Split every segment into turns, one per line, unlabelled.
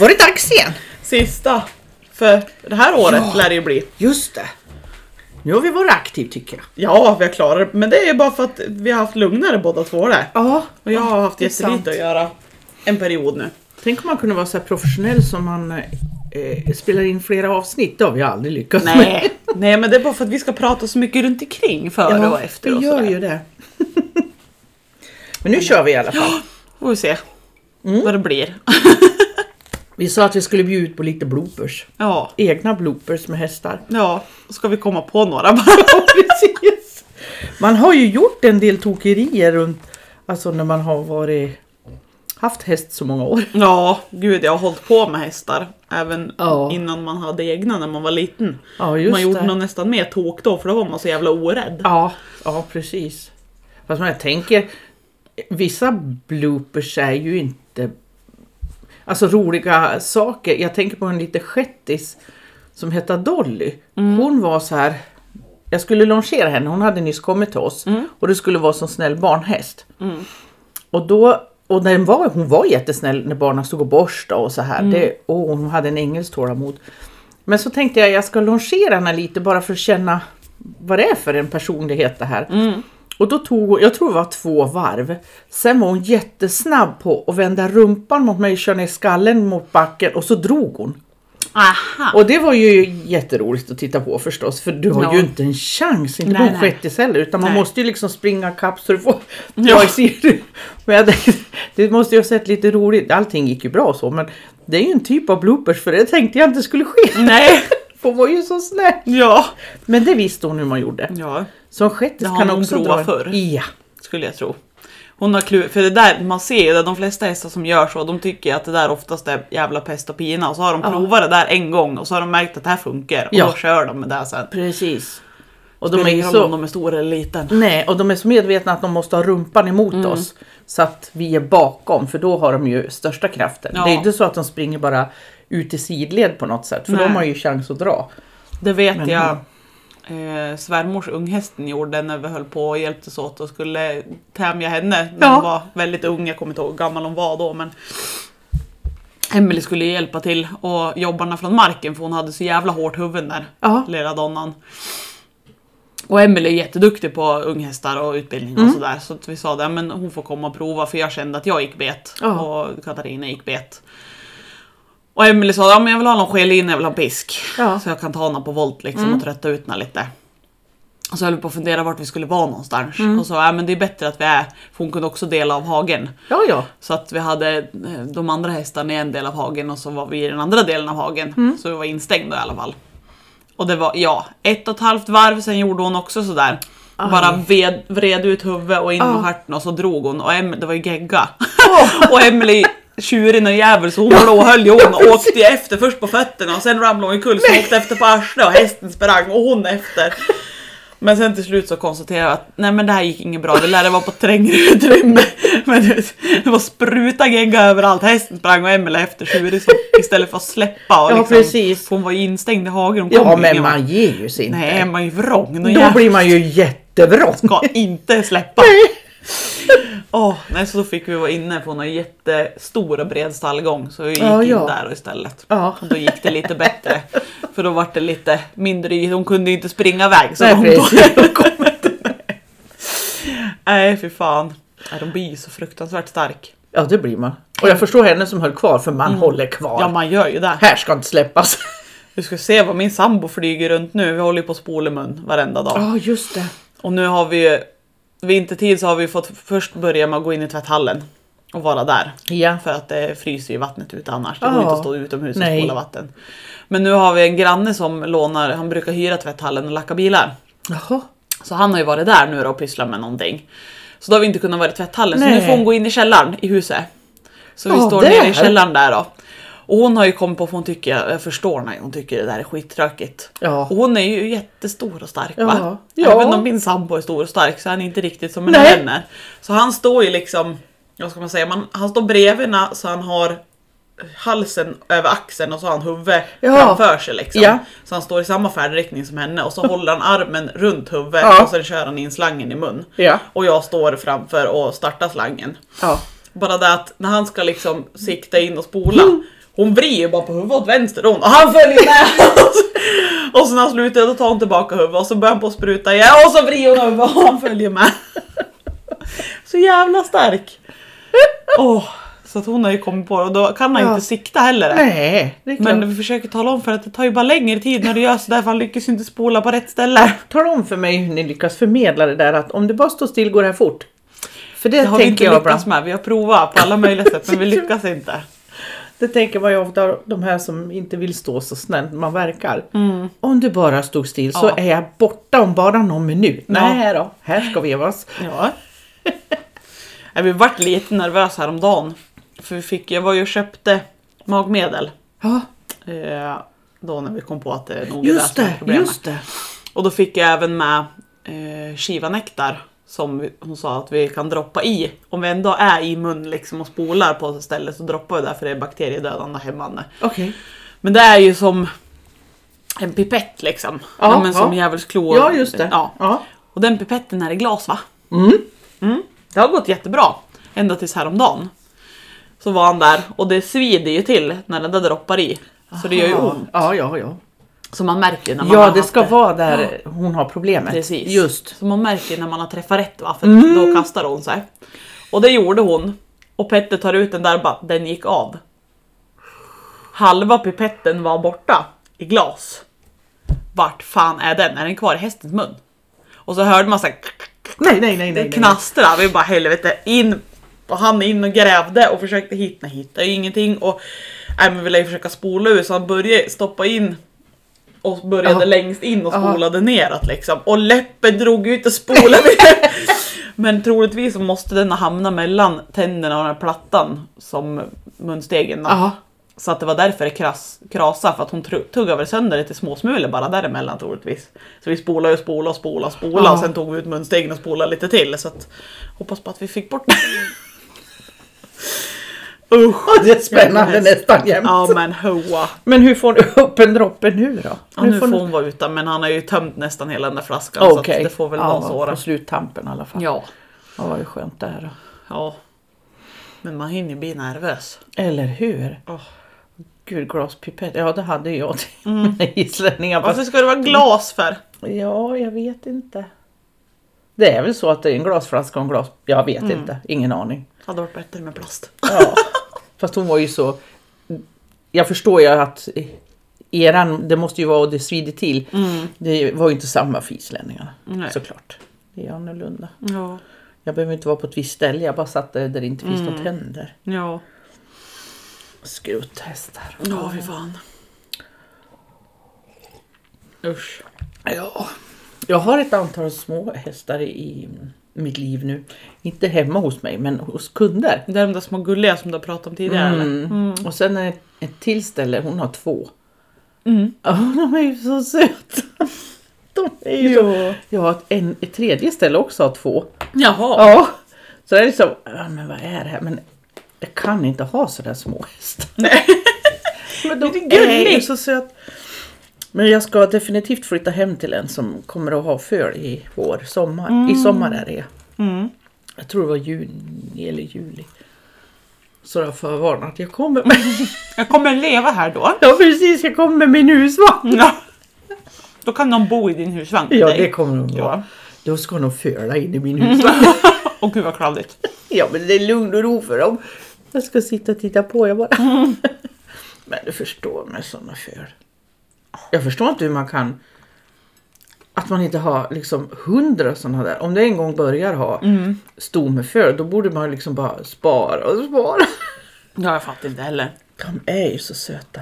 Var det Darksén?
Sista. För det här året lär det ju bli.
Just det. Nu har vi varit aktiv tycker jag.
Ja, vi har klarat det. Men det är ju bara för att vi har haft lugnare båda två där.
Ja,
Och jag har haft
det är sant.
jättelite att göra en period nu.
Tänk om man kunde vara så här professionell som man eh, spelar in flera avsnitt. Det har vi aldrig lyckats med.
Nej. Nej, men det är bara för att vi ska prata så mycket runt omkring före och efter och
vi gör
sådär.
ju det. Men nu kör vi i alla fall.
Får vi se
Mm.
vad det blir.
Vi sa att vi skulle bjuda ut på lite bloopers.
ja.
Egna bloopers med hästar.
Ja, ska vi komma på några bara.
Precis. Man har ju gjort en del tokerier runt, alltså när man har varit, haft häst så många år.
Ja, gud jag har hållit på med hästar. Även
Ja.
innan man hade egna när man var liten.
Ja, just
man gjorde
det.
nog nästan mer tok då för då var man så jävla orädd.
Ja, ja precis. Fast man tänker, vissa bloopers är ju inte alltså roliga saker. Jag tänker på en liten shettis som hette Dolly. Hon var så här, jag skulle longera henne, hon hade nyss kommit till oss och det skulle vara som snäll barnhäst. Och då och när den var, hon var jättesnäll när barnen stod och borstade och så här. Det, åh, hon hade en ängels tålamod. Men så tänkte jag jag ska longera henne lite bara för att känna vad det är för en personlighet det här. Och då tog hon, jag tror det var två varv. Sen var hon jättesnabb på att vända rumpan mot mig, köra ner skallen mot backen och så drog hon.
Aha!
Och det var ju jätteroligt att titta på förstås, för du har
Ja.
ju inte en chans, inte på
Nej,
en
nej.
shettis heller, utan man
Nej.
måste ju liksom springa kapp så du får...
Ja.
Ja. ser du. Men jag tänkte, det måste ju ha sett lite roligt, allting gick ju bra och så, men det är ju en typ av bloopers, för det tänkte jag inte skulle ske.
Nej!
För hon var ju så snäll.
Ja.
Men det visste hon hur man gjorde.
ja,
Så en shettis
Det har
kan
hon
också
provat
dra en-
förr.
Ja.
skulle jag tro. Hon har klur, för det där, man ser ju det, de flesta hästar som gör så, de tycker att det där oftast är jävla pest och pina och så har de
Ja.
provat det där en gång och så har de märkt att det här funkar och
Ja.
då kör de med det här sen.
Precis. Och de
Spelar
är ju
ingen roll om
så,
de är stora eller liten.
nej, och de är så medvetna att de måste ha rumpan emot oss. Så att vi är bakom, för då har de ju största kraften.
Ja.
Det är inte så att de springer bara ut i sidled på något sätt, för
Nej.
de har ju chans att dra.
Det vet
Men-
jag eh, svärmors unghästen gjorde när vi höll på och hjälptes åt och skulle tämja henne när
Ja.
hon var väldigt ung. Jag kommer inte ihåg hur gammal hon var då men Emelie skulle ju hjälpa till och jobbarna från marken för hon hade så jävla hårt huvud där,
Ja.
lilla donnan. Och Emelie är jätteduktig på unghästar och utbildning
Mm.
och sådär så att vi sa det, men hon får komma och prova för jag kände att jag gick bet
Ja.
och Katarina gick bet. Och Emelie sa ja, men jag vill ha någon geline, jag vill ha en pisk.
Ja.
Så jag kan ta honom på volt liksom och trötta ut henne lite. Och så höll vi på att fundera vart vi skulle vara någonstans. Och så, ja men det är bättre att vi är, för hon kunde också dela av hagen.
Ja, ja.
Så att vi hade eh, de andra hästarna i en del av hagen och så var vi i den andra delen av hagen. Så vi var instängda i alla fall. Och det var, ja, ett och ett halvt varv, sen gjorde hon också sådär. Bara ved, vred ut huvudet och in med stjärten och så drog hon. Och em, det var ju gegga. och Emily tjurig och jävel så hon blåhöll ju hon och åkte ju efter först på fötterna och sen ramlade hon omkull så hon åkte efter på arslet och hästen sprang och hon efter. Men sen till slut så konstaterade jag att nej men det här gick inget bra, vi lärde vara på trängre utrymme. Men det, det var spruta gegga överallt, hästen sprang och Emelie efter tjurig så istället för att släppa. Och
Ja,
liksom,
precis.
för Hon var ju instängd i hagen, hon kom
Ja,
ju
men
ingen vart.
man ger ju sig inte.
Nej, man är ju vrång. Någon
Då
jävla
blir man ju jättevrång.
ska inte släppa. Åh, nej, så då fick vi vara inne på någon jättestor och bred stallgång så vi gick
Ja, ja.
in där istället.
Ja.
Och då gick det lite bättre. För då var det lite mindre yta, hon kunde ju inte springa iväg så
Nej,
långt.
precis.
då. nej, fy fan. Nej, De blir ju så fruktansvärt stark.
Ja, det blir man. Och jag förstår henne som höll kvar, för man håller kvar.
Ja, man gör ju det.
Här ska inte släppas.
Du ska se vad min sambo flyger runt nu. Vi håller ju på att spola mun varenda dag.
Ja, just det.
Och nu har vi ju, vintertid så har vi fått först börja med att gå in i tvätthallen och vara där.
Ja.
För att det fryser ju vattnet ute annars. Det går
Ja.
ju inte att stå utomhus och
Nej.
spola vatten. Men nu har vi en granne som lånar, han brukar hyra tvätthallen och lacka bilar.
Jaha.
Så han har ju varit där nu då och pysslat med någonting. Så då har vi inte kunnat vara i tvätthallen, så nu
Nej.
får hon gå in i källaren i huset. Så vi
Ja,
står
där.
nere i källaren där då. Och hon har ju kommit på, för hon tycker, jag förstår när hon tycker det där är skittråkigt.
Ja.
Och hon är ju jättestor och stark va?
Ja.
Även om min sambo är stor och stark så är han inte riktigt som en
Nej.
vän är. Så han står ju liksom, vad ska man säga, man, han står bredvid na- så han har halsen över axeln och så har han huvudet
Ja.
framför sig liksom.
Ja.
Så han står i samma färdriktning som henne och så håller han armen runt huvudet
Ja.
och sen kör han in slangen i mun.
Ja.
Och jag står framför och startar slangen.
Ja. Mm.
Bara det att när han ska liksom sikta in och spola, Hon vrider ju bara på huvudet åt vänster hon, och han följer med! och så när han slutar då tar hon tillbaka huvudet och så börjar hon på att spruta igen och så vrider hon huvudet och han följer med. Så jävla stark! Åh, så att hon har ju kommit på det och då kan han
Ja.
inte sikta heller.
Nej, det är klart.
Men vi försöker tala om för att det tar ju bara längre tid när du gör sådär för han lyckas ju inte spola på rätt ställe.
Tala om för mig hur ni lyckas förmedla det där att om du bara står still går det här fort. För det,
Det har vi
tänker
inte
jag bra.
lyckats med. Vi har provat på alla möjliga sätt men vi lyckas inte.
Det tänker man ju ofta de här som inte vill stå så snällt man verkar. Om du bara stod still så
Mm. Ja.
är jag borta om bara någon minut. Nej då, här ska vi vara.
Ja. Nej, vi vart lite nervösa häromdagen. För vi fick, jag var ju och köpte magmedel.
Ja,
Eh, då när vi kom på att det är nog är
just
som är
det,
problemet.
just det.
Och då fick jag även med eh, skiva nektar. Som vi- hon sa att vi kan droppa i. Om vi ändå är i mun liksom och spolar på ett ställe så droppar vi där för det är bakteriedödande och hämmande.
Okej.
Men det är ju som en pipett liksom.
Ja,
Ja, men som
ja.
djävulsklor.
Ja, just det.
Ja.
Ja.
Och den pipetten är i glas va?
Mm.
Mm. Det har gått jättebra. Ända tills häromdagen. Så var han där och det svider ju till när den där droppar i. Så det gör ju
Ja.
ont.
Ja, ja, ja.
Så man märker ju när man har
Ja, det
haft
ska vara där hon har problemet.
Precis.
Just. Mm.
Så man märker när man har träffat rätt va, för då kastar hon sig. Och det gjorde hon. Och Petter tar ut den där och bara, den gick av. Halva pipetten var borta i glas. Vart fan är den? Är den kvar i hästens mun? Och så hörde man såhär
Nej, nej, nej, nej. nej.
knastra. Vi bara helvete in. Och han in och grävde och försökte hitta, hittade ju ingenting. Och nej, men ville ju försöka spola ut så han började stoppa in och började
Ja.
längst in och
Ja.
spolade neråt liksom. Och läppen drog ut och spolade ner. Men troligtvis så måste den ha hamnat mellan tänderna och den här plattan som munstegen. då.
Ja.
Så att det var därför det kras, krasade, för att hon tru- tuggade väl sönder det till småsmulor bara däremellan troligtvis. Så vi spolade och spolade och spolade och spolade
Ja.
och sen tog vi ut munstegen och spolade lite till. Så att, hoppas på att vi fick bort det. Usch!
Det är spännande
Jävla häst.
nästan jämt.
Ja men hoa.
Men hur får du upp en droppe nu då?
Ja, nu får hon vara utan men han har ju tömt nästan hela den där flaskan så att det får väl vara så.
på
då.
sluttampen i alla fall.
Ja.
Ja, vad skönt det här då.
ja. Men man hinner ju bli nervös.
Eller hur?
Åh.
Gud, glaspipett. Ja, det hade ju jag till
Mm.
mina islänningar.
Varför
Fast,
ska det vara glas för?
ja, jag vet inte. Det är väl så att det är en glasflaska och en glas... Jag vet
Mm.
inte. Ingen aning.
Hade varit bättre med plast.
Ja. Fast hon var ju så... Jag förstår ju att eran, det måste ju vara och det svider till.
Mm.
Det var ju inte samma för islänningarna
Nej.
såklart. Det är annorlunda.
Ja.
Jag behöver inte vara på ett visst ställe, jag bara satt där där det inte finns några tänder.
Ja.
Skrothästar.
Ja, fy fan. Usch.
Ja. Jag har ett antal små hästar i mitt liv nu. Inte hemma hos mig, men hos kunder.
Det är de där små gulliga som du har pratat om tidigare eller?
Och sen är det ett till ställe, hon har två. Ja, de är ju så söta. De är ju så...
Ja.
Jag har ett, en, ett tredje ställe också har två.
Jaha.
Ja. Så det är liksom, ja, men vad är det här? Men jag kan inte ha sådär små hästar. Men de
Det är gulligt.
är ju så söta. Men jag ska definitivt flytta hem till en som kommer att ha föl i vår, sommar. I sommar är det.
Mm.
Jag tror det var juni eller juli. Så jag förvarnar att jag kommer med,
Jag kommer leva här då.
ja, precis, jag kommer med min husvagn.
Ja. Då kan de bo i din husvagn med
Ja,
dig.
det kommer de vara.
Ja.
Då ska de föla in i min husvagn.
Och gud vad kladdigt.
Ja, men det är lugn och ro för dem. Jag ska sitta och titta på, jag bara. Men du förstår med sådana föl. Jag förstår inte hur man kan... Att man inte har liksom hundra sådana där. Om det en gång börjar ha stommeföl, då borde man liksom bara spara och spara.
Ja, jag fattar inte heller.
De är ju så söta.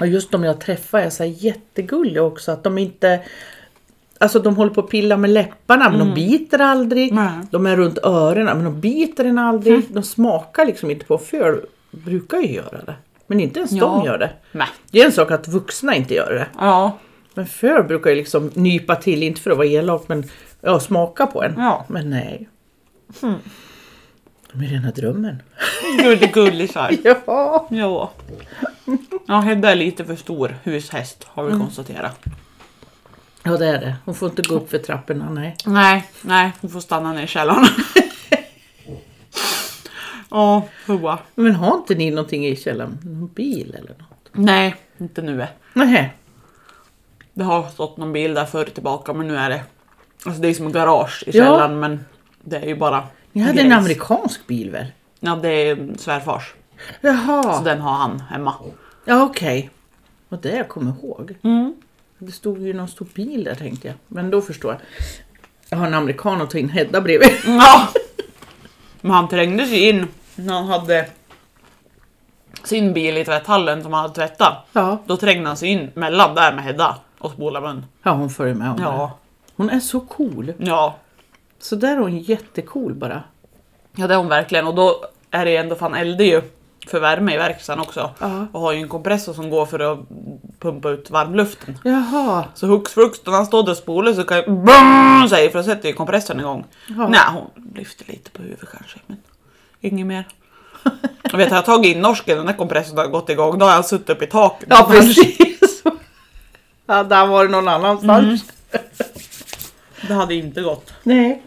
Och just de jag träffar är så här jättegulliga också. Att de inte... Alltså de håller på att pilla med läpparna men de biter aldrig.
Mm. Nej. Mm.
De är runt öronen men de biter en aldrig. De smakar liksom inte på föl. Brukar ju göra det. Men inte ens
Ja.
de gör det.
Nej.
Det är en sak att vuxna inte gör det.
Ja.
Men föl brukar ju liksom nypa till, inte för att vara elak men ja, smaka på en.
Ja. Mm.
Men nej. De är rena drömmen.
Gullig gullisar.
Ja.
Ja. Ja, Hedda är lite för stor hushäst har vi konstaterat.
ja, det är det. Hon får inte gå upp för trapporna, nej.
Nej, nej, hon får stanna ner i källaren. Ja, hoa.
Men har inte ni någonting i källaren? Någon bil eller något?
Nej, inte nu. är.
Nej.
Det har stått någon bil där förr tillbaka men nu är det... Alltså det är som ett garage i
Ja.
källaren men det är ju bara...
Ni hade en
grejs.
amerikansk bil väl?
Ja, det är svärfars. Så
Jaha,
den har han hemma.
ja okej. Och det jag kommer ihåg. Det stod ju någon stor bil där tänkte jag. Men då förstår jag. Jag har en amerikan och tar in Hedda bredvid.
Ja. Men han trängde sig in när han hade sin bil i tvätthallen som han hade tvättat.
Ja,
Då trängde han sig in mellan där med Hedda och spolade mun.
ja hon följer med honom.
Ja.
Hon är så cool.
Ja.
Så där är hon jättecool bara.
ja, det är hon verkligen. Och då är det ju ändå fan eldar ju för värme i verkstaden också.
Ja.
Och har ju en kompressor som går för att pumpa ut varmluften.
Jaha,
Så hux flux när han står där och spolar så kan jag BOOM! säger för då sätter ju kompressorn igång.
Ja.
Nej, hon lyfter lite på huvudet kanske men inget mer. Jag vet, har jag tagit in norsken den där kompressorn har gått igång då har jag suttit upp i taket.
ja precis. Hade han varit någon annanstans?
Det hade inte gått.
Nej.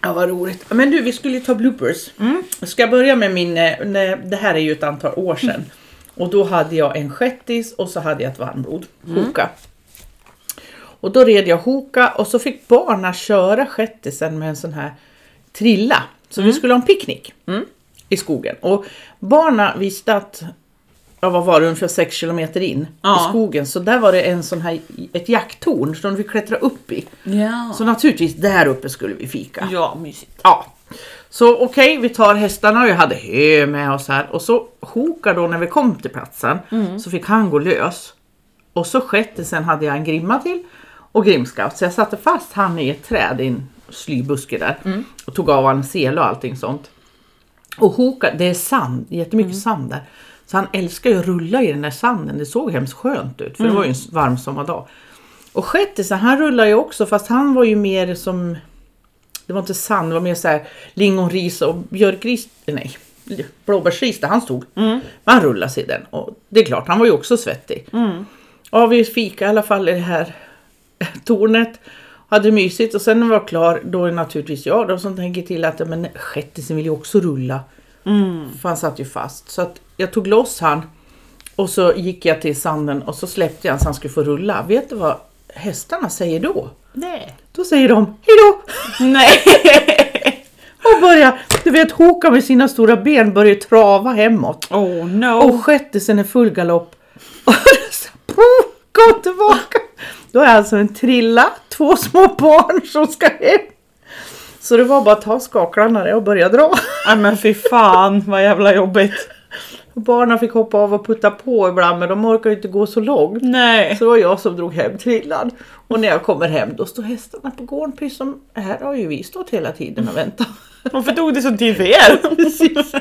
Ja, vad roligt. Men du, vi skulle ju ta bloopers. Jag ska börja med min, eh, nej, det här är ju ett antal år sedan. Och då hade jag en shettis och så hade jag ett varmblod, hoka. Och då red jag hoka och så fick barna köra shettisen med en sån här trilla. Så vi skulle ha en picknick i skogen. Och barna visste att, ja vad var det, ungefär 6 kilometer in
Ja.
i skogen. Så där var det en sån här, ett jakttorn som vi klättra upp i.
Ja.
Så naturligtvis där uppe skulle vi fika.
Ja, mysigt.
Ja. Så okej, vi tar hästarna och jag hade hö med oss här. Och så Hoka då när vi kom till platsen så fick han gå lös. Och så skett sen hade jag en grimma till och grimskaft. Så jag satte fast han i ett träd i en slybuske där. Och tog av han sele och allting sånt. Och Hoka, det är sand, jättemycket sand där. Så han älskar ju att rulla i den där sanden. Det såg hemskt skönt ut för det var ju en varm sommardag. Och Schettisen han rullar ju också fast han var ju mer som det var inte sand, det var mer så här lingonris och björkris, nej, blåbärsris där han stod. Mm. Men han rullade sig i den och det är klart, han var ju också svettig. Ja, vi fika i alla fall i det här tornet. Hade mysigt och sen när vi var klar, då är naturligtvis jag då som tänker till att ja, men shettisen vill ju också rulla. För han satt ju fast. Så att jag tog loss han och så gick jag till sanden och så släppte jag han så han skulle få rulla. Vet du vad hästarna säger då?
Nej.
Då säger de hejdå!
Nej.
Och börjar, du vet Håkan med sina stora ben börjar trava hemåt.
Oh no.
Och shettisen är full galopp. Och så poff, gå tillbaka. Då är alltså en trilla, två små barn som ska hem. Så det var bara att ta skaklarna och börja dra.
Nej men fy fan vad jävla jobbigt.
Och barnen fick hoppa av och putta på ibland men de orkar ju inte gå så långt.
Nej.
Så det var jag som drog hem trillan. Och när jag kommer hem då står hästarna på gården precis som här har ju vi stått hela tiden och väntat.
Varför tog det sån tid för er?
Precis.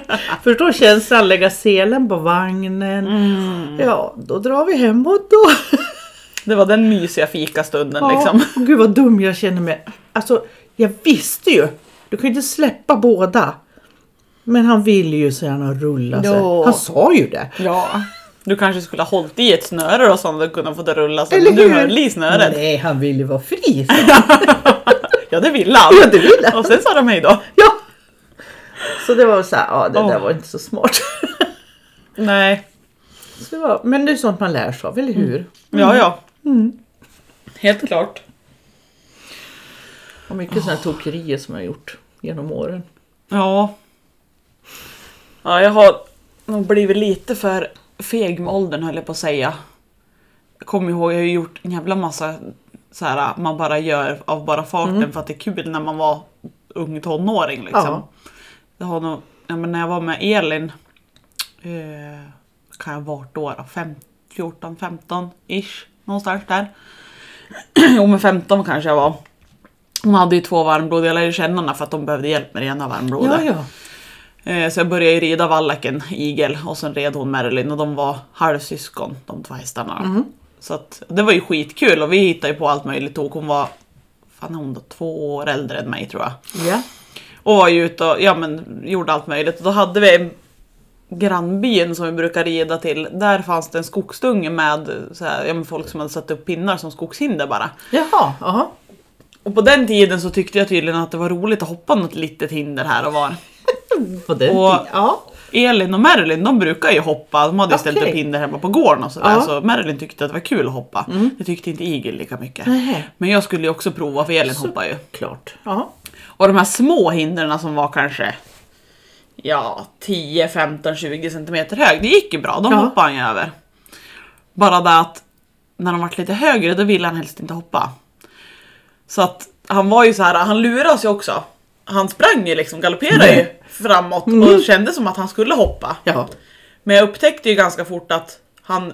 Förstå känslan, lägga selen på vagnen. Ja, då drar vi hemåt då.
Det var den mysiga fikastunden
Ja,
liksom.
och gud vad dum jag känner mig. Alltså, jag visste ju. Du kan ju inte släppa båda. Men han ville ju så gärna rulla sig.
Ja.
Han sa ju det.
Ja. Du kanske skulle ha hållit i ett snöre och så hade du kunnat få det rulla så
Eller
men du
hur?
höll i snöret.
Nej, han ville ju vara fri. sa han.
Ja det vill han.
Ja, det vill han.
Och sen sa de hej då.
ja. Så det var så här, ja det där
Ja.
var inte så smart.
Nej.
Så det var, men det är sånt man lär sig av, eller hur?
Ja ja.
Mm.
Helt klart.
Och mycket sådana tokerier som jag har gjort genom åren.
Ja. Ja jag har nog blivit lite för feg med åldern höll jag på att säga. Jag kommer ihåg, jag har ju gjort en jävla massa så här man bara gör av bara farten för att det är kul när man var ung tonåring liksom.
Mm. Ja.
Jag har nog, ja, men när jag var med Elin, eh, kan jag vart då? då? Fem- 14, 15 ish. Någonstans där. jo men 15 kanske jag var. Hon hade ju två varmblod, jag lärde ju känna henne för att de behövde hjälp med det ena varmblodet.
Ja, ja.
Eh, Så jag började ju rida vallaken, igel, och sen red hon Marilyn och de var halvsyskon, de två hästarna.
Mhm.
Så att, det var ju skitkul och vi hittade ju på allt möjligt tog. Hon var, fan är hon då, två år äldre än mig tror jag.
ja.
Och var ju ute och ja, men, gjorde allt möjligt. Och då hade vi grannbyn som vi brukar rida till. Där fanns det en skogsdunge med så här, ja, men folk som hade satt upp pinnar som skogshinder bara.
Jaha, aha.
Och på den tiden så tyckte jag tydligen att det var roligt att hoppa något litet hinder här och var.
På den
Och-
tiden. Ja.
Elin och Marilyn de brukar ju hoppa, de hade ju ställt
Okej.
upp hinder hemma på gården och sådär.
Ja. Mm.
Så Marilyn tyckte att det var kul att hoppa. Det tyckte inte Igel lika mycket.
Nähä.
Men jag skulle ju också prova för Elin hoppar ju.
Klart. Ja.
Och de här små hindren som var kanske ja, 10, 15, 20 centimeter hög, det gick ju bra. De
Ja.
hoppade han ju över. Bara det att när de vart lite högre då ville han helst inte hoppa. Så att han var ju så här, han luras ju också. Han sprang ju liksom, galopperade ju
Nej.
framåt och
Mm.
kände som att han skulle hoppa.
Ja.
Men jag upptäckte ju ganska fort att han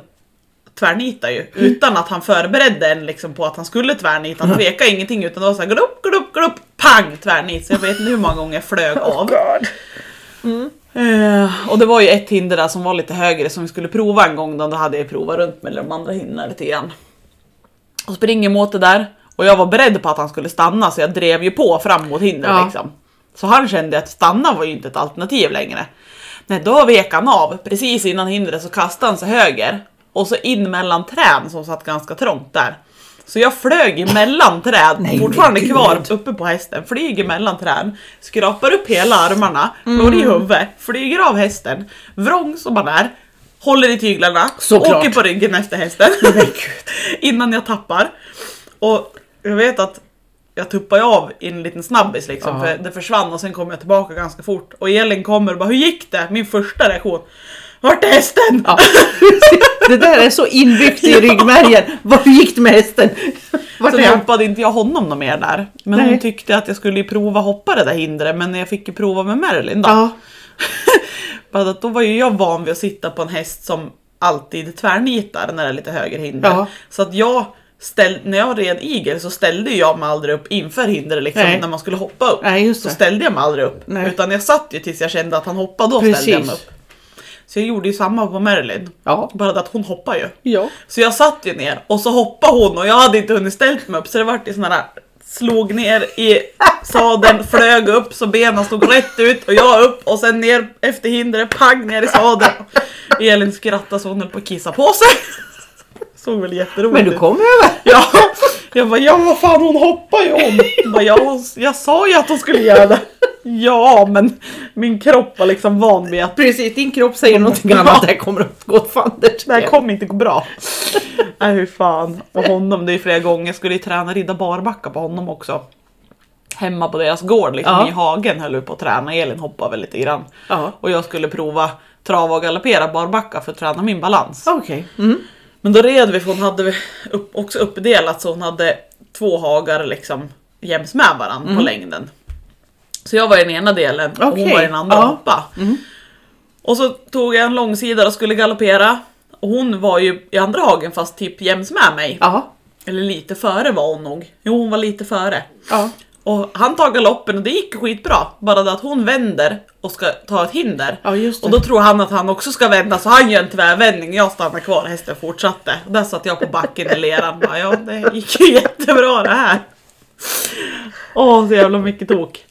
tvärnitar ju utan att han förberedde en liksom på att han skulle tvärnita. Han tvekade ingenting utan det var såhär glupp, glupp, glupp, pang tvärnit. Så jag vet inte hur många gånger jag flög av. Eh, och det var ju ett hinder där som var lite högre som vi skulle prova en gång då. Då hade jag provat runt med de andra hindren lite grann. Och springer mot det där. Och jag var beredd på att han skulle stanna så jag drev ju på fram mot hindret
Ja.
liksom. Så han kände att stanna var ju inte ett alternativ längre. Nej, då vek han av. Precis innan hindret så kastade han sig höger. Och så in mellan träd som satt ganska trångt där. Så jag flög emellan träd,
Nej, men
fortfarande
gud.
kvar uppe på hästen, flyger mellan träd, skrapar upp hela armarna, slår i
Mm.
huvudet, flyger av hästen, vrång som man är, håller i tyglarna,
Såklart.
åker på ryggen efter hästen innan jag tappar. Och jag vet att jag tuppar ju av i en liten snabbis liksom,
Ja.
för det försvann och sen kom jag tillbaka ganska fort. Och Elin kommer och bara “Hur gick det?” Min första reaktion “Vart är hästen?”
ja. Det där är så inbyggt i ryggmärgen. Var gick det med hästen? Vart
Så
är han?
dumpade inte jag honom något mer där. Men
Nej.
hon tyckte att jag skulle ju prova hoppa det där hindret, men jag fick ju prova med Marilyn då.
Ja.
Bara att då var ju jag van vid att sitta på en häst som alltid tvärnitar när det är lite högre hinder.
Ja.
Så att jag ställ, när jag red igel så ställde jag mig aldrig upp inför hindret liksom,
Nej.
när man skulle hoppa upp.
Nej, just
så
det.
ställde jag mig aldrig upp.
Nej.
Utan jag satt ju tills jag kände att han hoppade, då ställde jag mig
Precis.
upp. Så jag gjorde ju samma på Marilyn.
Ja.
Bara det att hon hoppar ju.
Ja.
Så jag satt ju ner och så hoppade hon och jag hade inte hunnit ställt mig upp så det vart ju sån här äh, slog ner i sadeln, flög upp så benen stod rätt ut och jag upp och sen ner efter hindret, pang ner i sadeln. Elin skrattade så hon höll på att kissa på sig. Såg väl jätteroligt
Men du
ut.
kom över.
Ja, jag bara ja vad fan hon hoppar ju om. Jag, bara, ja, hon- jag sa ju att hon skulle göra det. Ja men min kropp var liksom van vid att
Precis, din kropp säger någonting annat. Det här kommer att gå åt fanders.
Det här kommer inte gå bra. Nej hur fan. Och honom, det är ju flera gånger. Jag skulle ju träna ridda barbacka på honom också. Hemma på deras gård liksom,
Ja.
i hagen höll vi på att träna. Elin hoppade väl lite grann.
Ja.
Och jag skulle prova trava och galoppera barbacka för att träna min balans.
Okej. Mm.
Men då red vi för hon hade vi upp, också uppdelat så hon hade två hagar liksom jäms med varandra på längden. Så jag var i den ena delen och hon
Mm. Okej,
var i den andra
ja. Mm.
och hoppa. Och så tog jag en långsida och skulle galoppera. Och hon var ju i andra hagen fast typ jäms med mig.
Ja.
Eller lite före var hon nog. Jo hon var lite före.
Ja.
Och han tar galoppen och det gick ju skitbra. Bara det att hon vänder och ska ta ett hinder.
Ja, just det.
och då tror han att han också ska vända så han gör en tvärvändning. Jag stannar kvar, hästen fortsatte. Och där satt jag på backen i leran. Bara, ja, det gick ju jättebra det här. Åh, så jävla mycket tok.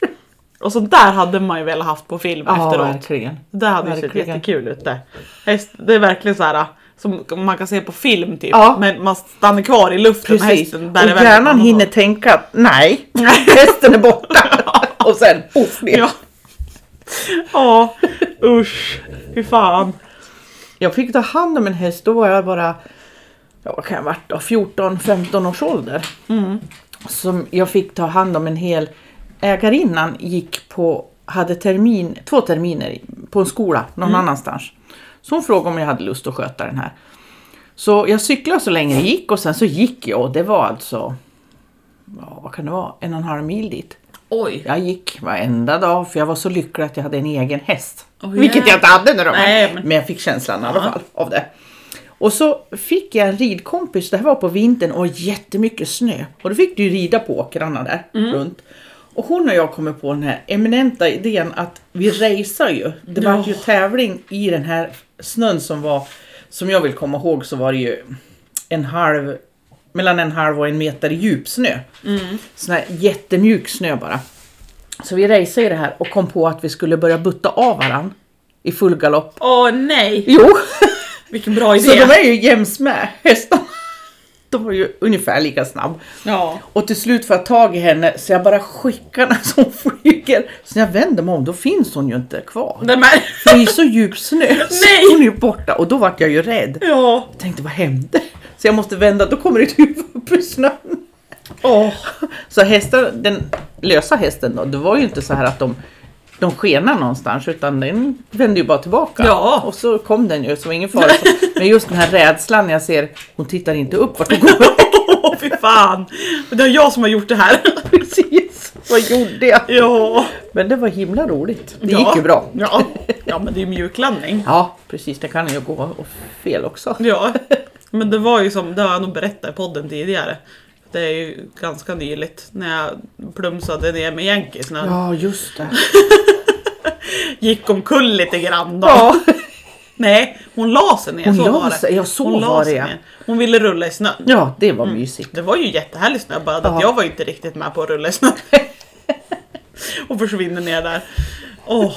Och sånt där hade man ju velat haft på film
ja,
efteråt.
verkligen.
Det hade ju sett
Verkligen.
jättekul ut det. Häst, det är verkligen så här som man kan se på film typ.
Ja.
Men man stannar kvar i luften och
Precis.
hästen bär
och
iväg
hjärnan
honom då.
hinner tänka att nej, hästen är borta. och sen poff ner.
Ja. Ja, usch. Fy fan.
Jag fick ta hand om en häst, då var jag bara ja, vad kan jag ha varit då? 14-15 års ålder. Som jag fick ta hand om en hel ägarinnan gick på, hade termin, två terminer på en skola någon annanstans. Så hon frågade om jag hade lust att sköta den här. Så jag cyklade så länge det gick och sen så gick jag och det var alltså, ja, vad kan det vara, en och en halv mil dit.
Oj.
Jag gick varenda dag för jag var så lycklig att jag hade en egen häst.
Åh,
vilket jag inte hade när de var.
Nej, men-
men... jag fick känslan i alla fall av det. Och så fick jag en ridkompis, det här var på vintern och jättemycket snö. Och då fick du ju rida på åkrarna där runt. Och hon och jag kommer på den här eminenta idén att vi racear ju. Det var ju tävling i den här snön som var, som jag vill komma ihåg så var det ju en halv, mellan en halv och en meter djup snö. Sån här jättemjuk snö bara. Så vi raceade i det här och kom på att vi skulle börja butta av varann i full galopp.
Åh nej.
Jo!
Vilken bra idé.
Alltså, Så de är ju jäms med hästarna. De var ju ungefär lika snabb.
Ja.
Och till slut får jag tag i henne så jag bara skickar henne så hon flyger. Så när jag vänder mig om då finns hon ju inte kvar.
Den här.
För det är så djup snö så
Nej.
hon är ju borta och då vart jag ju rädd.
Ja.
Jag tänkte vad hände? Så jag måste vända, då kommer ett huvud upp ur snön.
Åh.
Så hästen, den lösa hästen då, det var ju inte så här att de, de skenar någonstans utan den vände ju bara tillbaka.
Ja.
Och så kom den ju, så det var ingen fara. Men just den här rädslan när jag ser, hon tittar inte upp vart hon går.
Åh, fy fan. Det är jag som har gjort det här.
Precis, vad gjorde jag?
Ja.
Men det var himla roligt. Det
ja.
gick ju bra.
Ja. ja, men det är ju mjuklandning.
Ja, precis. Det kan ju gå och fel också.
Ja. Men det var ju som, det har jag nog berättat i podden tidigare. Det är ju ganska nyligt när jag plumsade ner med Yankees när jag
Ja, just det.
gick omkull lite grann då.
Ja,
Nej, hon la sig ner.
Hon
så
la
var det.
sig, ja, så
hon la
var
sig
det, ja.
ner. Hon ville rulla i snön.
ja det var mysigt.
Det var ju jättehärlig snö, bara att
Ja.
jag var ju inte riktigt med på att rulla i snö. och försvinner ner där. Åh,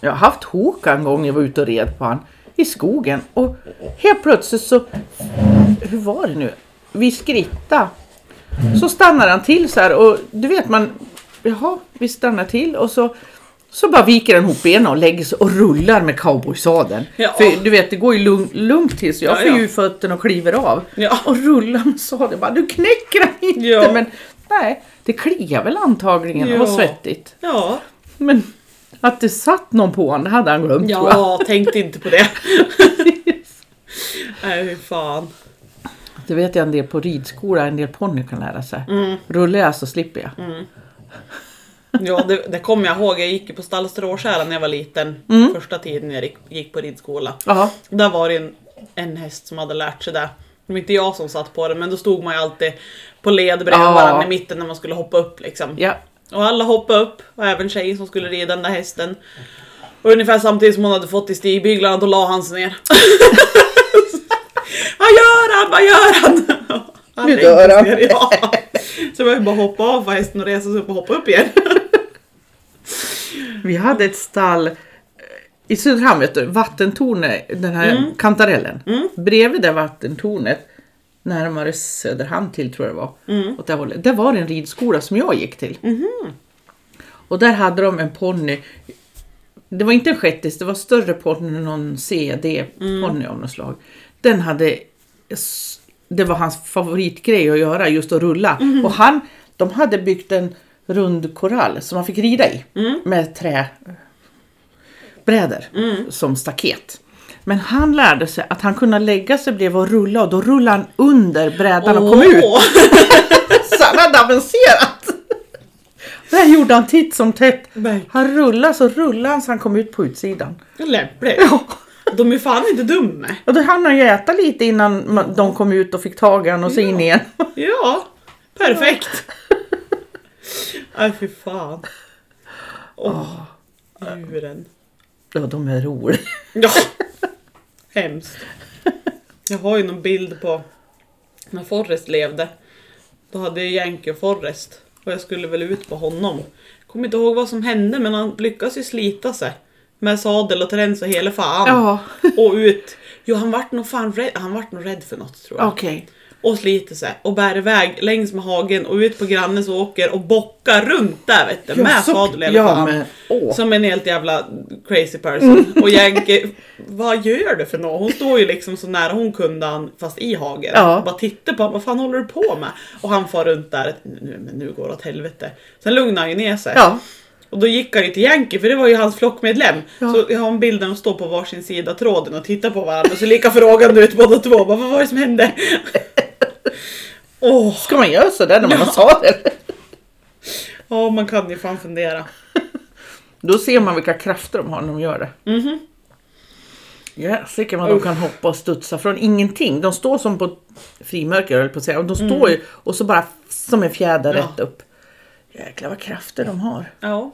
Jag har haft Håkan en gång när jag var ute och red på han i skogen och helt plötsligt så, hur var det nu? Vi skritta. Så stannar han till så här och du vet man, jaha, vi stannar till och så så bara viker han ihop benen och lägger sig och rullar med cowboysadeln.
Ja.
För du vet, det går ju lugn- lugnt till så jag
Ja,
får
ja.
ju fötterna och kliver av.
Ja.
Och rullar med sadeln. Jag bara, du knäcker han inte!
Ja.
Men nej, det kliar väl antagligen. Det var
Ja.
svettigt.
ja.
Men att det satt någon på honom, det hade han glömt tror jag.
Ja, tänkte inte på det. Nej, fy fan.
Det vet jag en del på ridskola, en del ponny kan lära sig. Rullar jag så slipper jag.
Ja, det, det kommer jag ihåg. Jag gick ju på Stallstråtjära när jag var liten.
Mm.
Första tiden jag gick, gick på ridskola.
Ja.
Där var det en, en häst som hade lärt sig det. Det var inte jag som satt på den, men då stod man ju alltid på led bredvid
Ja.
varandra i mitten när man skulle hoppa upp liksom.
Ja.
Och alla hoppade upp, och även tjejen som skulle rida den där hästen. Och ungefär samtidigt som hon hade fått i stigbyglarna, då la han sig ner. Vad gör han? Vad gör han? han
Nu
längtar
dör han.
ner, Ja. Så det var ju bara att hoppa av på hästen och resa sig upp och hoppa upp igen.
Vi hade ett stall eh, i Söderhamn, vet du, vattentornet, den här kantarellen. Bredvid det vattentornet, närmare Söderhamn till tror jag det var, åt det hållet. Där var det en ridskola som jag gick till. Och där hade de en ponny. Det var inte en shettis, det var större ponny, någon CD-ponny av något slag. Den hade, s- det var hans favoritgrej att göra, just att rulla. Och han, de hade byggt en rund korall som man fick rida i med träbrädor som staket. Men han lärde sig att han kunde lägga sig bredvid och rulla och då rullade han under brädan och kom ut.
Åh.
Så han hade avancerat. Det här gjorde han titt som tätt.
Nej.
Han rullade så rullade han så han kom ut på utsidan.
Lämpligt.
Ja.
De är fan inte dumma.
Och då hann han ju äta lite innan man- de kom ut och fick tag i han och så in igen.
Ja, perfekt. Nej fy fan. Åh, djuren.
Ja, de är roliga.
Ja. Hemskt. Jag har ju någon bild på när Forrest levde. Då hade jag Yankee och Forrest. Och jag skulle väl ut på honom. Kommer inte ihåg vad som hände men han lyckas ju slita sig. Med sadel och träns och hela fan.
Ja,
Och ut. Jo han vart nog fan rädd, han vart nog rädd för något tror jag.
okej.
Och sliter sig och bär iväg längs med hagen och ut på grannens åker och bockar runt där vet du.
Ja,
Med
så-
sadel i alla
ja,
fall.
men åh. Mm.
Som en helt jävla crazy person. Och Yankee, vad gör du för något? Hon står ju liksom så nära hon kunde han fast i hagen.
Ja.
Bara tittar på honom, vad fan håller du på med? Och han far runt där, nu, men nu går det åt helvete. Sen lugnar han ju ner sig.
Ja,
Och då gick han ju till Yankee för det var ju hans flockmedlem.
Ja.
Så jag har en bild där de står på varsin sida tråden och tittar på varandra och ser lika frågande ut båda två. Bara, vad var det som hände? Åh,
ska man göra sådär när man har sadel?
ja, man kan ju fan fundera.
Då ser man vilka krafter de har när de gör det. Jäsiken vad de
Mhm. Uff.
kan hoppa och studsa från ingenting. De står som på frimärken höll jag på att säga. Och De står ju och så bara som en fjäder
Mm. Ja.
rätt upp. Jäklar vad krafter de har.
Ja,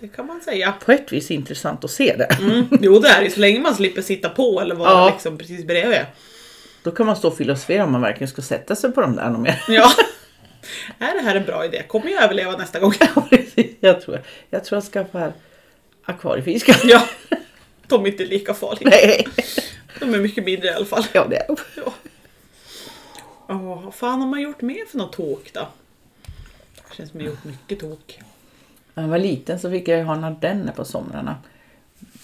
det kan man säga.
På ett vis intressant att se det.
Mm. Jo, det är det. Så länge man slipper sitta på eller vara
Ja.
liksom precis bredvid.
Då kan man stå och filosofera om man verkligen ska sätta sig på de där någon mer.
Ja. Är det här en bra idé? Kommer jag överleva nästa gång?
jag, tror, jag tror jag skaffar akvariefiskar.
Ja. De är inte lika farliga.
Nej.
De är mycket mindre i alla fall.
Ja, det är.
Ja. Ja, vad fan har man gjort mer för något tok då? Det känns som jag har gjort mycket tok.
När jag var liten så fick jag ju ha en ardenne på somrarna.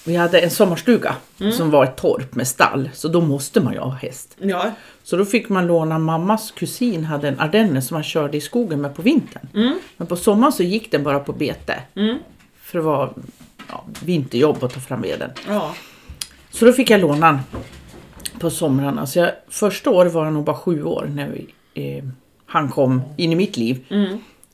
Vi hade en sommarstuga som var ett torp med stall, så då måste man ju ha häst.
Ja,
Så då fick man låna, mammas kusin hade en ardenne som man körde i skogen med på vintern. Men på sommaren så gick den bara på bete. För det var ja, vinterjobb att ta fram veden.
ja.
Så då fick jag låna den på somrarna. Så jag, första året var jag nog bara sju år när vi, eh, han kom in i mitt liv.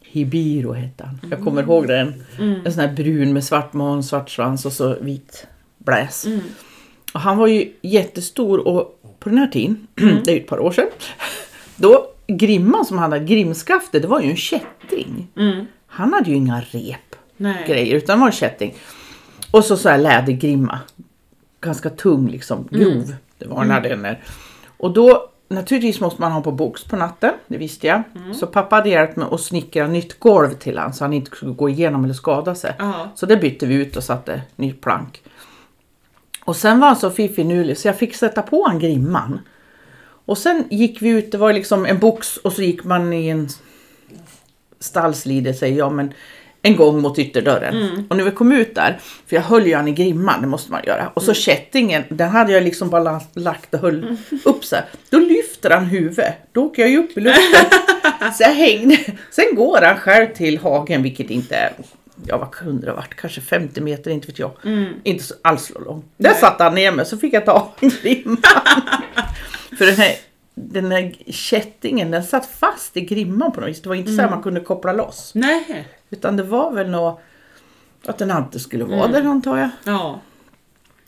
Hibiro hette han. Jag kommer ihåg den. En sån här brun med svart man, svart svans och så vit bläs. Och han var ju jättestor och på den här tiden, det är ju ett par år sedan, då grimman som han hade, grimskaftet, det var ju en kätting. Han hade ju inga rep
Nej.
grejer utan var en kätting. Och så så här lädergrimma. Ganska tung liksom,
Mm.
grov. Det var en ardenner. Och då naturligtvis måste man ha på box på natten, det visste jag.
Mm.
Så pappa hade hjälpt mig att snickra nytt golv till han så han inte skulle gå igenom eller skada sig.
Ja.
Så det bytte vi ut och satte nytt plank. Och sen var han så fiffinulig så jag fick sätta på han grimman. Och sen gick vi ut, det var liksom en box och så gick man i en stallslide säger jag, men en gång mot ytterdörren. Och när vi kom ut där, för jag höll ju han i grimman, det måste man göra. Och så kättingen, den hade jag liksom bara la- lagt och höll upp så här. Då lyfter han huvudet, då åker jag ju upp i luften. så jag hängde. Sen går han själv till hagen, vilket inte är, ja vad kunde det ha varit, kanske 50 meter, inte vet jag. Inte så- alls så långt. Där satte han ner mig, så fick jag ta en grimman. För den här, den här kättingen den satt fast i grimman på något vis. Det var inte så här man kunde koppla loss.
Nej.
Utan det var väl nå att den alltid skulle vara
Mm.
där antar jag.
Ja.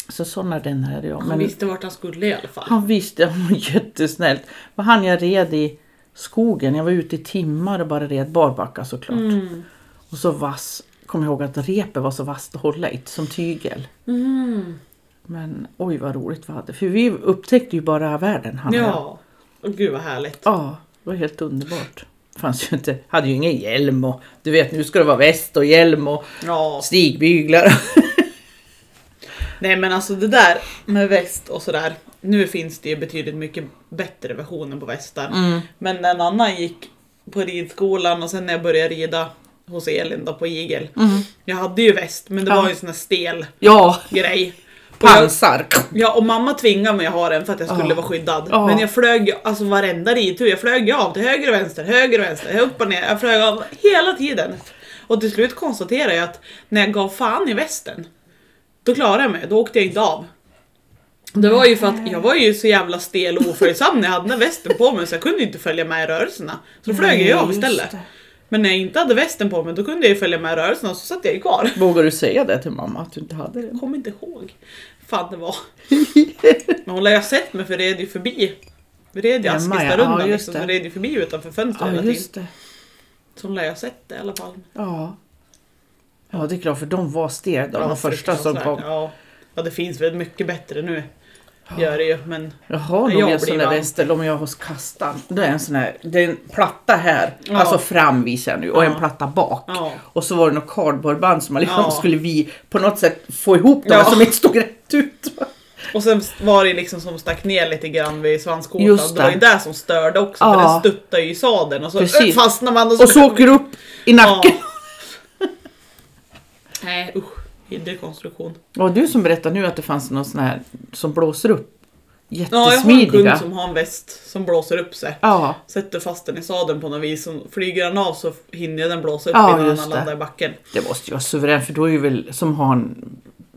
Så sådana den hade jag.
Han
Men
visste vart han skulle i alla fall.
han visste, han var jättesnällt. Vad han jag red i skogen. Jag var ute i timmar och bara red barbacka såklart.
Mm.
Och så vass, kom jag ihåg att repet var så vasst att hålla i, som tygel.
Mm.
Men oj vad roligt vi hade. För vi upptäckte ju bara världen han och jag.
Ja. Och gud vad härligt.
Ja, det var helt underbart. Fanns ju inte, hade ju ingen hjälm och du vet nu ska det vara väst och hjälm och
Ja.
stigbyglar.
Nej men alltså det där med väst och sådär. Nu finns det ju betydligt mycket bättre versioner på västar. Men när Nanna gick på ridskolan och sen när jag började rida hos Elin då på Igel. Jag hade ju väst men det var ju en sån här stel
Ja,
grej. Och jag,
pansar.
ja och mamma tvingade mig att ha den för att jag skulle
Ja.
vara skyddad.
Ja.
Men jag flög ju- alltså varenda ridtur, jag flög ju av till höger och vänster, höger och vänster, upp och ner. Jag flög av hela tiden. Och till slut konstaterade jag att när jag gav fan i västen, då klarade jag mig, då åkte jag inte av. Det var ju för att jag var ju så jävla stel och oföljsam när jag hade den där västen på mig så jag kunde ju inte följa med i rörelserna. Så då flög jag ju
Nej,
av
just
istället.
det.
Men när jag inte hade västen på mig då kunde jag ju följa med i rörelserna och så satt jag ju kvar.
Vågar du säga det till mamma att du inte hade det?
Jag kommer inte ihåg fan det var. Men hon lär ju ha sett mig för det är ju förbi. Vi red ju
Hemma,
Askistarundan
ja, just
liksom, så
det.
red ju förbi utanför fönstret
Ja,
hela tiden.
just det.
Så hon lär ju ha sett det i alla fall.
Ja. Ja, det är klart för de var stela de första som
fruktansvärt.
kom.
liksom, Ja. ja, det finns väl mycket bättre nu. Gör det ju, men
Jag har
Jag
nog en
blir
sån där
varm.
västel om jag har kastan. Det är en sån här, det är en platta här,
Ja.
alltså fram visar jag nu, och
Ja.
en platta bak.
Ja.
Och så var det något cardboardband som man liksom
Ja.
skulle vi på något sätt få ihop dem
Ja.
som inte stod rätt ut.
Och sen var det liksom som stack ner lite grann vid svanskotan.
Just
det var ju
det.
det som störde också för
Ja.
den stuttade ju i sadeln och så
Precis.
fastnade man
Och så åker du upp i nacken.
Ja. Nej usch, vidrig konstruktion.
Det var du som berättade nu att det fanns någon sån här som blåser upp.
Ja, jag har en
Jättesmidiga.
kund som har en väst som blåser upp sig.
Ja,
Sätter fast den i sadeln på något vis. Och flyger den av så hinner den blåsa upp
Ja,
innan
just
den
det.
landar i backen.
det måste ju vara suverän för då är ju väl som har en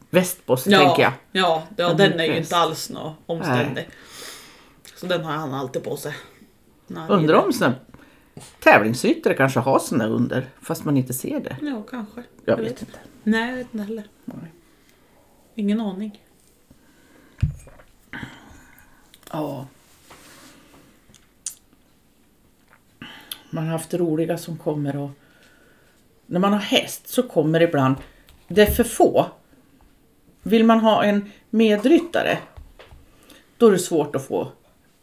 väst på sig tänker jag.
ja, ja
En
den är ju
väst.
inte alls nå omständig. Så den har han alltid på sig. När han
Undrar
rider.
om såna tävlingsryttare kanske har såna där under fast man inte ser det.
Ja, kanske.
Jag vet inte.
Nej, jag vet inte heller.
Nej.
Ingen aning.
Ja. Man har haft roliga som kommer och när man har häst så kommer det ibland, det är för få. Vill man ha en medryttare då är det svårt att få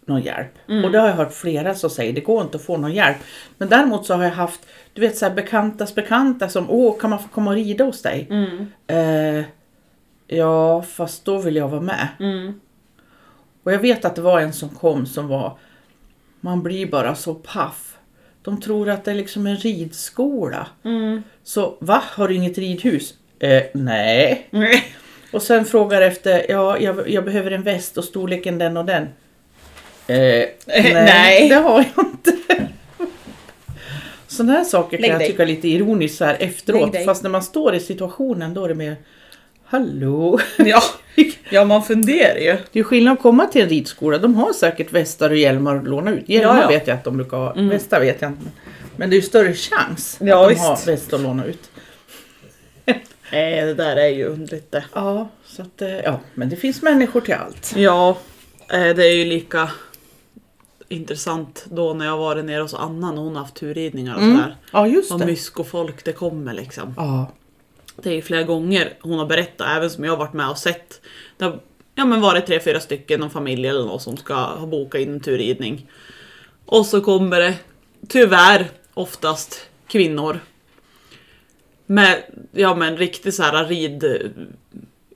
någon hjälp. Och det har jag hört flera som säger, det går inte att få någon hjälp. Men däremot så har jag haft, du vet så här bekantas bekanta som, åh kan man få komma och rida hos dig? Eh, ja fast då vill jag vara med. Och jag vet att det var en som kom som var Man blir bara så paff. De tror att det är liksom en ridskola. Mm. Så va, har du inget ridhus? Eh, nej. Och sen frågar efter, ja jag, jag behöver en väst och storleken den och den. Eh, nej,
nej.
det har jag inte. Sådana här saker
Lägg
kan jag
dig.
tycka är lite ironiskt så här efteråt.
dig.
Fast när man står i situationen då är det mer, hallå.
ja. ja, man funderar ju.
Det är ju skillnad att komma till en ridskola. De har säkert västar och hjälmar att låna ut. Hjälmar
Ja, ja.
vet jag att de brukar ha. Västar vet jag inte. men- Men det är ju större chans
Ja,
att de
visst.
har väst att låna ut.
Nej, det där är ju lite...
Ja, så att, eh, ja, men det finns människor till allt.
Ja, eh, det är ju lika intressant då när jag varit nere hos Anna när hon haft turridningar och sådär.
Ja, Mm. just
Vad
det.
myskofolk det kommer liksom.
Ja,
Det är ju flera gånger hon har berättat, även som jag har varit med och sett. Det har ja, men varit tre, fyra stycken, någon familj eller något som ska ha bokat in en turridning. Och så kommer det, tyvärr, oftast kvinnor. Med, ja men riktig så här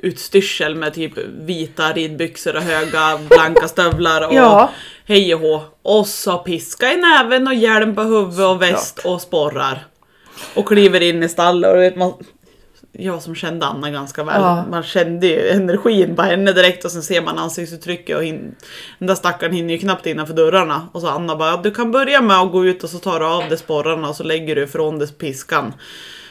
ridutstyrsel med typ vita ridbyxor och höga blanka stövlar och
Ja.
hej och hå. Och så piska i näven och hjälm på huvudet och väst och sporrar. Och kliver in i stallet och du vet man jag som kände Anna ganska väl,
Ja.
man kände ju energin på henne direkt och sen ser man ansiktsuttrycket och hin- den där stackaren hinner ju knappt innanför dörrarna. Och så Anna bara, du kan börja med att gå ut och så tar du av dig sporrarna och så lägger du ifrån dig piskan.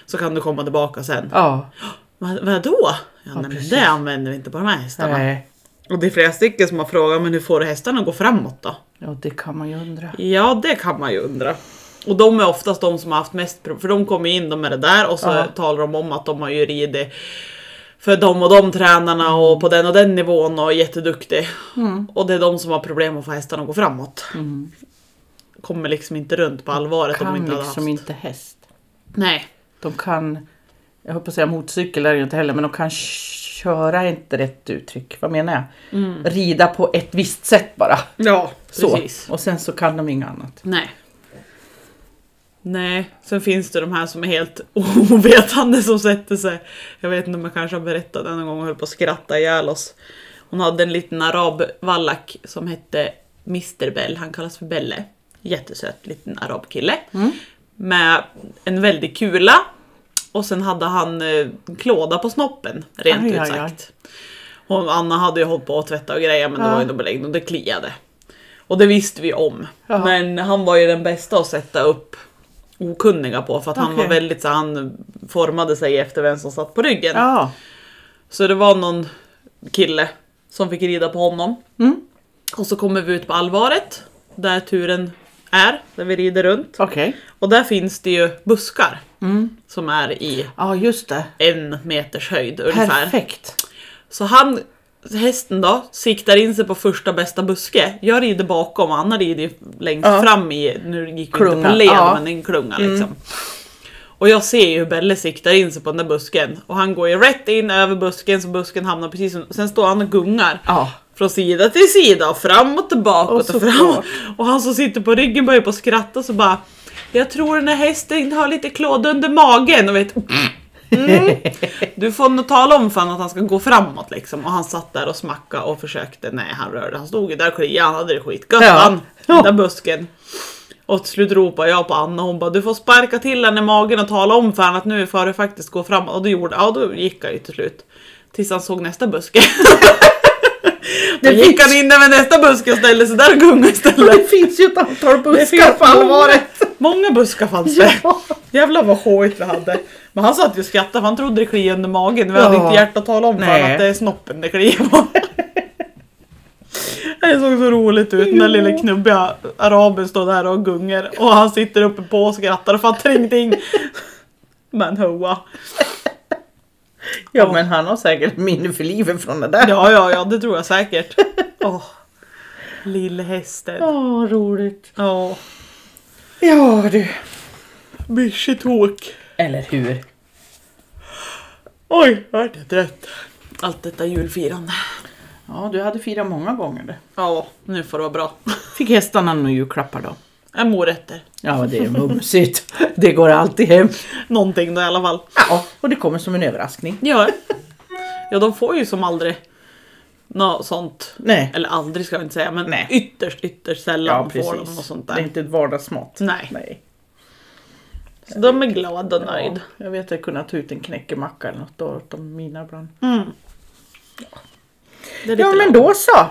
Så kan du komma tillbaka sen.
ja.
Vad, vadå? Ja, nej, men
precis.
det använder vi inte på de här hästarna.
Nej.
Och det är flera stycken som har frågat, men hur får du hästarna att gå framåt då?
ja, det kan man ju undra.
Ja, det kan man ju undra. Och de är oftast de som har haft mest problem, för de kommer in de med det där och så
Ja.
talar de om att de har ju ridit för de och de tränarna och
Mm.
på den och den nivån och är jätteduktig. Och det är de som har problem att få hästarna att gå framåt. Kommer liksom inte runt på allvaret om de
Mm. Kan
inte hade
liksom
haft.
inte häst.
Nej.
De kan, jag höll på att säga motorcykel är det ju inte heller, men de kan köra, är inte rätt uttryck, vad menar jag? Rida på ett visst sätt bara.
Ja,
Så.
precis.
Och sen så kan de inget annat.
Nej. Nej, sen finns det de här som är helt ovetande som sätter sig. Jag vet inte om jag kanske har berättat det någon gång och höll på att skratta ihjäl oss. Hon hade en liten arab vallack som hette Mr Bell, han kallas för Belle. Jättesöt liten arabkille.
Mm.
Med en väldig kula. Och sen hade han eh, klåda på snoppen, rent
Aj, aj,
ut
aj.
sagt. Hon, Anna hade ju hållit på att tvätta och greja men det
Ja.
var ju något belägg och det kliade. Och det visste vi om.
Ja.
Men han var ju den bästa att sätta upp okunniga på för att han
Okej.
var väldigt så han formade sig efter vem som satt på ryggen.
Ja,
Så det var någon kille som fick rida på honom.
Mm.
Och så kommer vi ut på allvaret där turen är, där vi rider runt.
okej.
Och där finns det ju buskar
Mm.
som är i
Ja, just det.
en meters höjd ungefär.
Perfekt.
Så han, hästen då, siktar in sig på första bästa buske. Jag rider bakom och Anna rider ju längst
Ja.
fram i, nu gick vi inte
Klunga,
på led
ja. Mm.
men en klunga liksom. Och jag ser ju hur Belle siktar in sig på den där busken och han går ju rätt in över busken så busken hamnar precis som, sen står han och gungar.
Ja.
Från sida till sida och fram och tillbaka
Och
och, och
såklart.
fram. Och han som sitter på ryggen börjar på att skratta så bara Jag tror den här hästen har lite klåda under magen och vet mm. du får nog tala om för honom att han ska gå framåt liksom. Och han satt där och smackade och försökte. Nej, han rörde. Han stod ju där och kliade. Han hade det skitgött
Ja.
han.
Ja.
Den där busken. Och till slut ropade jag på Anna och hon bara du får sparka till henne i magen och tala om för honom att nu får du faktiskt gå framåt. Och då gjorde ja, då gick han ju till slut. Tills han såg nästa buske. Då
Det
gick
finns-
han in över nästa buske och ställde sig där och gungade istället.
Det finns ju ett antal buskar
finns
på allvaret.
Många buskar fanns det.
Ja.
Jävlar vad showigt vi hade. Men han satt ju och skrattade för han trodde det kliade under magen. Vi hade
Ja.
inte hjärta att tala om för
Nej.
honom att det är snoppen det kliar på. Det såg så roligt ut när lille knubbiga araben står där och gungar och han sitter uppe på och skrattar och fattar ingenting. Men hoa.
Ja, men han har säkert minne för livet från det där. Ja,
Ja, ja, ja, det tror jag säkert. Åh, Lille hästen.
roligt.
Ja,
Ja, du.
mycket tåk.
Eller hur?
Oj, vart jag trött. Allt detta julfirande.
Ja, du hade firat många gånger. det.
Ja, nu får det vara bra.
Fick hästarna några julklappar då?
En morötter.
Ja, det är mumsigt. Det går alltid hem.
Någonting då i alla fall.
Ja, och det kommer som en överraskning.
Ja. ja, de får ju som aldrig något sånt.
Nej.
Eller aldrig ska jag inte säga, men
Nej.
ytterst, ytterst sällan
Ja,
får de
precis.
något sånt
Det är
där.
inte ett vardagsmat.
Nej.
Nej.
Så de är glada och nöjda.
Ja, jag vet att jag kunnat ta ut en knäckemacka eller något åt de mina ibland.
Mm. Det är lite
Ja men
lagom.
då så!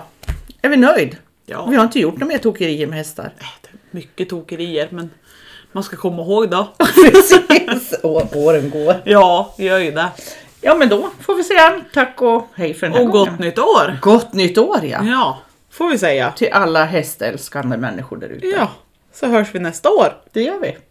Är vi nöjd?
Ja.
Vi har inte gjort några mer tokerier med hästar.
Äh, det är Mycket tokerier, men man ska komma ihåg då.
Precis! Och åren går.
Ja, gör ju det.
Ja men då får vi säga tack och hej för den här
Och
gången.
gott nytt år!
Gott nytt år ja!
Ja, får vi säga.
Till alla hästälskande människor där ute.
Ja, så hörs vi nästa år.
Det gör vi.